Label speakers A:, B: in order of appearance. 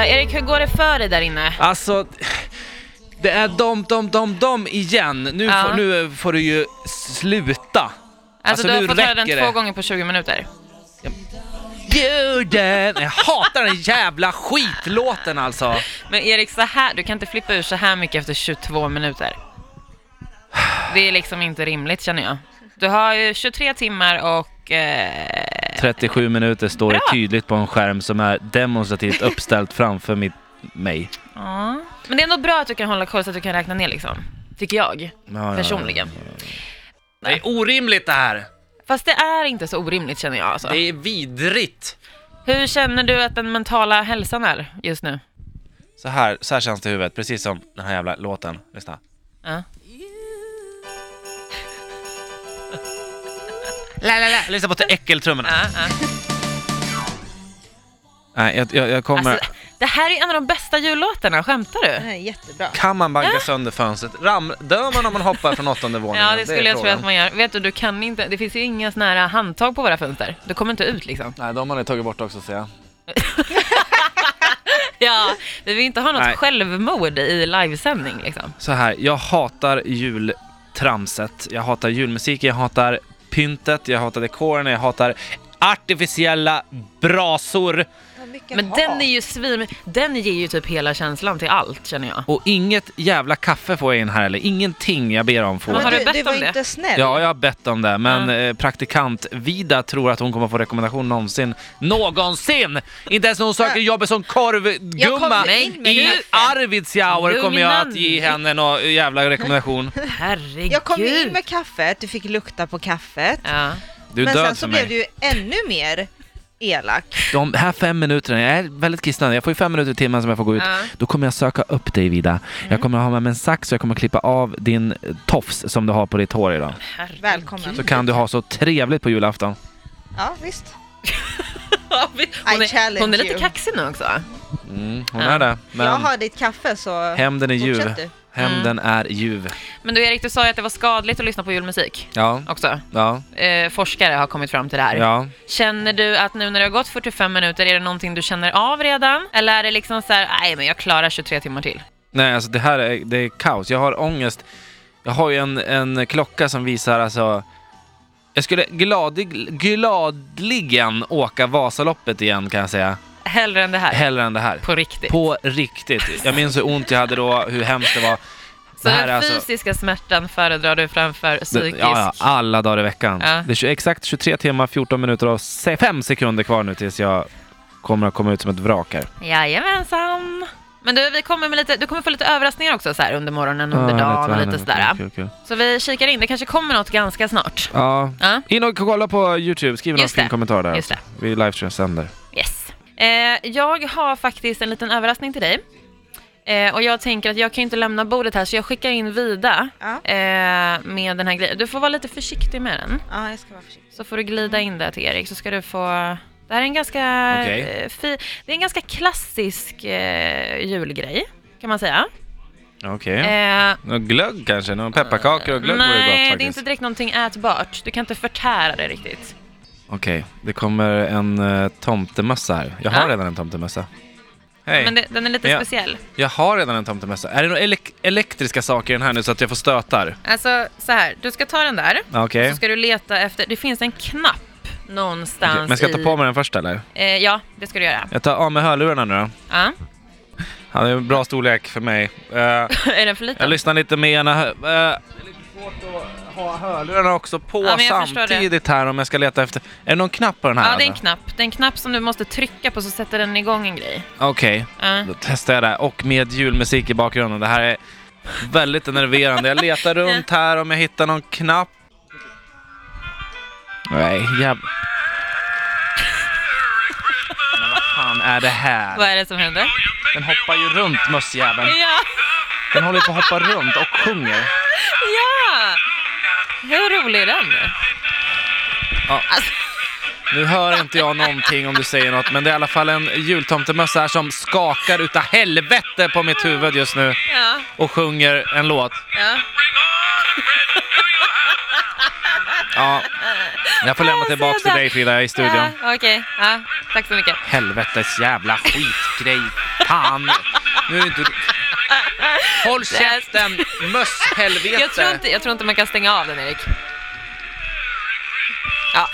A: Erik, hur går det för dig där inne?
B: Alltså, det är dom, dom, dom, dom igen. Nu,
A: Ja.
B: får, nu får du ju sluta.
A: Alltså, du
B: nu
A: har fått höra
B: räcker
A: den två gånger på 20 minuter.
B: Guden! Jag hatar den jävla skitlåten alltså.
A: Men Erik, så här, du kan inte flippa ur så här mycket efter 22 minuter. Det är liksom inte rimligt känner jag. Du har ju 23 timmar och... Eh,
B: 37 minuter står det
A: Bra.
B: tydligt på en skärm som är demonstrativt uppställt framför mitt, mig.
A: ja. Men det är ändå bra att du kan hålla koll så att du kan räkna ner liksom. Tycker jag,
B: Ja, ja,
A: personligen.
B: Det är orimligt det här!
A: Fast det är inte så orimligt känner jag alltså.
B: Det är vidrigt!
A: Hur känner du att den mentala hälsan är just nu?
B: Så här, så här känns det i huvudet, precis som den här jävla låten. Lyssna.
A: Ja.
B: La, la, la. Lyssna på till äckeltrummorna.
A: Ja, ja.
B: Nej, jag, jag, jag kommer...
A: Alltså, det här är en av de bästa jullåtarna, skämtar du?
C: Den är jättebra.
B: Kan man banka sönder fönstret? Ram, dör man om man hoppar från åttonde våningen?
A: Ah! Ja, det
B: är
A: skulle jag tro
B: frågan.
A: att man gör. Vet du, du kan inte, det finns ju inga såna här handtag på våra fönster. Du kommer inte ut liksom.
B: Nej, de har ni tagit bort också ser jag.
A: Ja, vi vill inte ha något
B: Nej.
A: självmord i livesändning liksom.
B: Så här, jag hatar jultramset. Jag hatar julmusiken, jag hatar pyntet, jag hatar dekoren, jag hatar artificiella brasor.
A: Men den är ju svin... Den ger ju typ hela känslan till allt känner jag.
B: Och inget jävla kaffe får jag in här eller Ingenting jag ber om får
A: Men
B: jag.
A: har du
C: du,
A: bett
C: du var
A: om det?
C: inte snäll.
B: Ja, jag har bett om det, men
A: Ja.
B: eh, praktikant Vida tror att hon kommer få rekommendation någonsin. Någonsin! Inte ens när hon söker jobbet som
C: Jag
B: korvgumma
C: kommer in med
B: i
C: kaffe.
B: Arvidsjaur kommer jag att ge
A: Lugna
B: henne någon jävla rekommendation.
A: Herregud.
C: Jag kom in med kaffet, du fick lukta på kaffet.
A: Ja.
B: Du är
C: men sen
B: död
C: så
B: för
C: blev
B: mig.
C: du ju ännu mer elak.
B: De här fem minuterna, jag är väldigt kissnödig, jag får ju fem minuter i timmen som jag får gå ut.
A: Ja.
B: Då kommer jag söka upp dig Vida.
C: Mm.
B: Jag kommer ha med mig en sax och jag kommer klippa av din eh, tofs som du har på ditt hår idag.
A: Herregud.
C: Välkommen.
B: Så kan du ha så trevligt på julafton.
C: Ja, visst.
A: Hon är,
C: challenge
A: hon är lite
C: you.
A: kaxig nu också.
B: Mm, hon
A: Ja.
B: är det.
C: Jag
B: Men
C: har ditt kaffe så
B: hämnden är ljuv.
C: fortsätt du. Mm.
B: Hämnden är ljuv.
A: Men du Erik, du sa ju att det var skadligt att lyssna på julmusik
B: Ja,
A: också.
B: ja,
A: Eh, forskare har kommit fram till det här.
B: ja.
A: Känner du att nu när det har gått 45 minuter, är det någonting du känner av redan? Eller är det liksom så här, nej men jag klarar 23 timmar till?
B: Nej, alltså det här är, det är kaos. Jag har ångest. Jag har ju en, en klocka som visar alltså... Jag skulle gladig, gladligen åka Vasaloppet igen kan jag säga.
A: Hellre än det här?
B: Hellre än det här.
A: På riktigt.
B: På riktigt. Jag minns hur ont jag hade då, hur hemskt det var.
A: så
B: det här är
A: den
B: alltså-
A: fysiska smärtan föredrar du framför
B: Det,
A: psykisk?
B: ja, ja, alla dagar i veckan.
A: Ja.
B: Det är tju- exakt 23 timmar, 14 minuter och 5 sekunder kvar nu tills jag kommer att komma ut som ett vrak här.
A: Jajamensan! Men du, vi kommer med lite, du kommer få lite överraskningar också så här under morgonen, under
B: Ja,
A: dagen och
B: vad
A: lite
B: härligt.
A: sådär.
B: Ah, Kul, kul, kul.
A: Så vi kikar in, det kanske kommer något ganska snart.
B: Ja.
A: Ja,
B: In och kolla på Youtube, skriv någon
A: Just det.
B: fin kommentar där.
A: Just det.
B: Vi livestreamsänder.
A: yes. Eh, jag har faktiskt en liten överraskning till dig. Eh, och jag tänker att jag kan ju inte lämna bordet här så jag skickar in Vida
C: Ja.
A: eh, med den här grejen. Du får vara lite försiktig med den.
C: Ja, jag ska vara försiktig.
A: Så får du glida in där till Erik så ska du få... Det här är en ganska
B: Okej.
A: eh, fi... Det är en ganska klassisk eh, julgrej kan man säga.
B: Okej.
A: Eh,
B: Någon glögg kanske? Någon pepparkakor och glögg vore gott
A: nej,
B: faktiskt.
A: det är inte direkt någonting ätbart. Du kan inte förtära det riktigt.
B: Okej, det kommer en eh, tomtemössa här. Jag har
A: Ja.
B: redan en tomtemössa. Hej.
A: Men det, den är lite
B: Ja.
A: speciell.
B: Jag har redan en tomtemössa. Är det några elek- elektriska saker i den här nu så att jag får stötar?
A: Alltså så här, du ska ta den där.
B: Okej.
A: Så ska du leta efter... Det finns en knapp någonstans
B: Okej, Men ska jag ta
A: i...
B: på mig den först eller?
A: Eh, ja, det ska du göra.
B: Jag tar av mig hörlurarna nu då.
A: Ja.
B: Han är en bra storlek för mig. Eh,
A: är den för
B: jag
A: liten?
B: lyssnar lite med ena hö- eh, Det är lite svårt att ha hörlurarna också på
A: Ja, men jag förstår det.
B: samtidigt här om jag ska leta efter... Är det någon knapp på den här?
A: Ja, det är en
B: alltså?
A: knapp. Det är en knapp som du måste trycka på så sätter den igång en grej.
B: Okej.
A: Ja.
B: Då testar jag det här. och med julmusik i bakgrunden. Det här är väldigt enerverande. Jag letar runt här om jag hittar någon knapp. Nej, jävlar. Men vad fan är det
A: Vad
B: här?
A: är det som händer?
B: Den hoppar ju runt mössjäveln.
A: Ja!
B: Den håller på att hoppa runt och sjunger.
A: Ja! Hur rolig är den?
B: Nu hör inte jag någonting om du säger något, men det är i alla fall en jultomtemössa här som skakar utav helvete på mitt huvud just nu
A: Ja,
B: och sjunger en låt.
A: ja.
B: Ja. Jag får lämna tillbaks till dig Frida i studion.
A: Ja, Okej, ja, tack så mycket.
B: Helvetes jävla skitgrej. Fan. Nu är det inte... Håll käften, mösshelvete.
A: Jag tror, inte, jag tror inte man kan stänga av den Erik. Ja,